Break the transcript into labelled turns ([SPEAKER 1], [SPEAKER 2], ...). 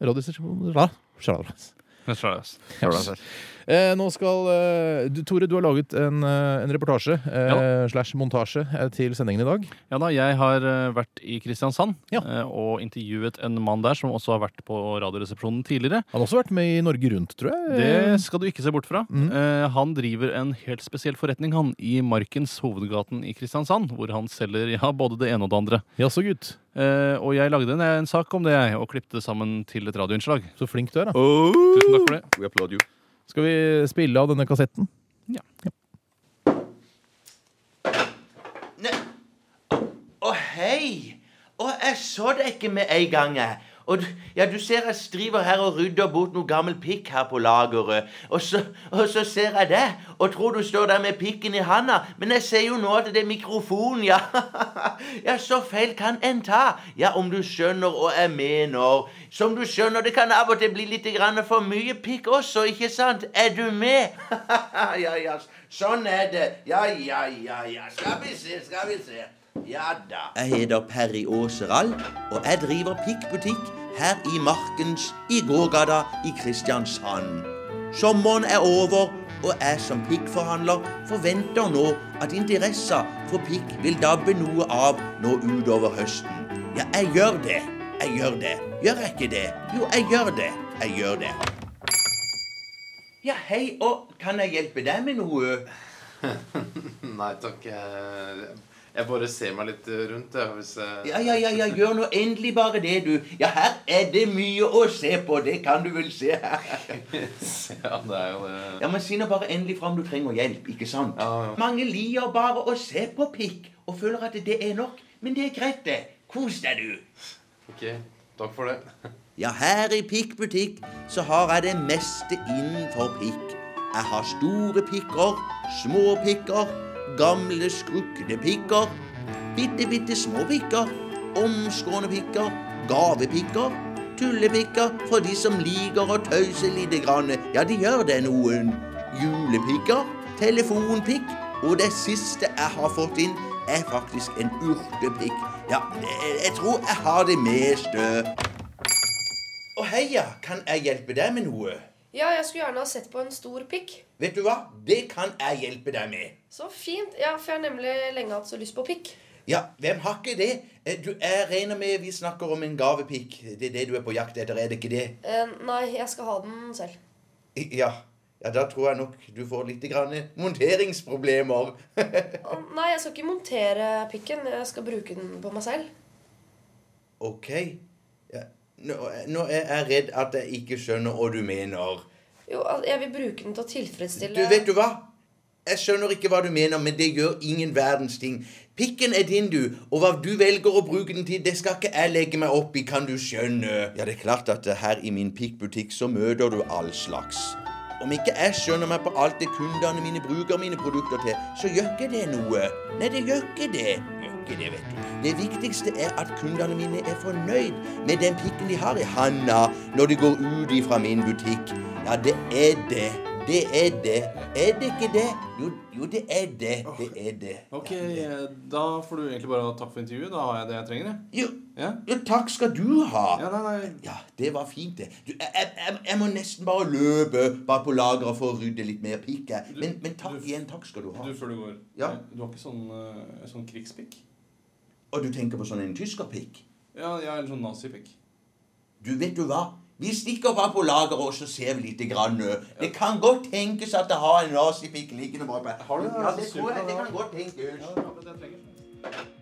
[SPEAKER 1] Radiostasjon Ra- Sjalas.
[SPEAKER 2] Det tror jeg, ass.
[SPEAKER 1] Eh, nå skal eh, du, Tore, du har laget en, eh, en reportasje eh, slash montasje eh, til sendingen i dag.
[SPEAKER 2] Ja da, jeg har eh, vært i Kristiansand
[SPEAKER 1] Ja.
[SPEAKER 2] eh, og intervjuet en mann der som også har vært på Radioresepsjonen tidligere.
[SPEAKER 1] Han har også vært med i Norge Rundt, tror jeg.
[SPEAKER 2] Det skal du ikke se bort fra.
[SPEAKER 1] Eh. Mm.
[SPEAKER 2] Eh, Han driver en helt spesiell forretning han i Markens hovedgaten i Kristiansand, hvor han selger ja, både det ene og det andre.
[SPEAKER 1] Jaså, gutt.
[SPEAKER 2] Eh, Og jeg lagde en, en sak om det, jeg, og klippet det sammen til et radioinnslag.
[SPEAKER 1] Så flink du er, da.
[SPEAKER 3] Oh,
[SPEAKER 2] Tusen takk for det.
[SPEAKER 3] we applaud you.
[SPEAKER 1] Skal vi spille av denne kassetten?
[SPEAKER 4] Ne- Å, hei! Å, jeg så deg ikke med en gang, jeg. Og du, ja, du ser jeg driver her og rydder bort noe gammel pikk her på lageret. Og så, og så ser jeg deg, og tror du står der med pikken i handa. Men jeg ser jo nå at det er mikrofonen, ja. Ja, så feil kan en ta. Ja, om du skjønner hva jeg mener. Som du skjønner, det kan av og til bli litt grann for mye pikk også, ikke sant? Er du med? Ja, ja, sånn er det. Ja, ja, ja, ja. Skal vi se, skal vi se. Ja da. Jeg heter Perry Åseral, og jeg driver pikkbutikk her i Markens i gågata i Kristiansand. Sommeren er over, og jeg som pikkforhandler forventer nå at interessa for pikk vil dabbe noe av nå utover høsten. Ja, jeg gjør det. Jeg gjør det. Gjør jeg ikke det? Jo, jeg gjør det. Jeg gjør det. Ja, hei, og kan jeg hjelpe deg med noe?
[SPEAKER 5] Nei takk. Jeg, jeg bare ser meg litt eh, rundt, jeg. Hvis jeg
[SPEAKER 4] Ja, ja, ja, ja, gjør nå endelig bare det, du. Ja, her er det mye å se på, det kan du vel se.
[SPEAKER 5] Ja, det er jo eh, det.
[SPEAKER 4] Ja, men si nå bare endelig fra om du trenger hjelp, ikke sant?
[SPEAKER 5] Ja, ja.
[SPEAKER 4] Mange liker bare å se på pikk og føler at det er nok, men det er greit det. Kos deg, du.
[SPEAKER 5] Ok, takk for det.
[SPEAKER 4] Ja, her i Pikk butikk så har jeg det meste innenfor pikk. Jeg har store pikker, små pikker, gamle skrukne pikker, bitte, bitte små pikker, omskårne pikker, gavepikker, tullepikker for de som liker å tøyse lite grann. Ja, de gjør det noen. Julepikker, telefonpikk, og det siste jeg har fått inn, er faktisk en urtepikk. Ja, jeg, jeg tror jeg har det meste. Å heia, kan jeg hjelpe deg med noe?
[SPEAKER 6] Ja, jeg skulle gjerne ha sett på en stor pikk.
[SPEAKER 4] Vet du hva? Det kan jeg hjelpe deg med.
[SPEAKER 6] Så fint. Ja, for jeg har nemlig lenge hatt så lyst på pikk.
[SPEAKER 4] Ja, hvem har ikke det? Eh, Du, jeg regner med vi snakker om en gavepikk. Det er det du er på jakt etter, er det ikke det?
[SPEAKER 6] Eh, nei, jeg skal ha den selv.
[SPEAKER 4] I- Ja, ja da tror jeg nok du får litt grann monteringsproblemer.
[SPEAKER 6] Å, nei, jeg skal ikke montere pikken. Jeg skal bruke den på meg selv.
[SPEAKER 4] ok. Ja, nå, nå er jeg redd at jeg ikke skjønner hva du mener.
[SPEAKER 6] Jo, al- jeg vil bruke den til å
[SPEAKER 4] Du,
[SPEAKER 6] tilfredsstille
[SPEAKER 4] vet du hva? Jeg skjønner ikke hva du mener, men det gjør ingen verdens ting. Pikken er din, du, og hva du velger å bruke den til, det skal ikke jeg legge meg opp i, kan du skjønne? Ja, det er klart at eh, her i min pikkbutikk så møter du all slags. Om ikke jeg skjønner meg på alt det kundene mine bruker mine produkter til, så gjør ikke det noe. Nei, det gjør ikke det. Gjør ikke det, vet du. Det viktigste er at kundene mine er fornøyd med den pikken de har i handa når de går ut ifra min butikk. Ja, det er det. Det er det. Er det ikke det? Jo, jo det er det. Det er det.
[SPEAKER 2] Ok, da får du egentlig bare takk for intervjuet. Da har jeg det jeg trenger, jeg.
[SPEAKER 4] Jo,
[SPEAKER 2] Ja.
[SPEAKER 4] jo takk skal du ha.
[SPEAKER 2] nei, nei.
[SPEAKER 4] Ja, det var fint, det. Du, jeg, jeg- jeg, jeg må nesten bare løpe bare på lageret for å rydde litt mer pikk. jeg. Men, men takk
[SPEAKER 2] du-
[SPEAKER 4] igjen. Takk skal du ha.
[SPEAKER 2] Du, før du går.
[SPEAKER 4] Ja.
[SPEAKER 2] Du har ikke sånn, eh, sånn krigspikk?
[SPEAKER 4] Og du tenker på sånn en tyskerpikk?
[SPEAKER 2] Ja, jeg har en sånn nazipikk.
[SPEAKER 4] Du, vet du hva? Vi stikker bare på lageret og så ser vi lite grann. ø. Det kan godt tenkes at jeg har en nazipikk liggende bare på
[SPEAKER 2] Har du det?
[SPEAKER 4] Ja, det tror jeg. Det kan godt tenkes.
[SPEAKER 2] Ja, det er akkurat det jeg trenger.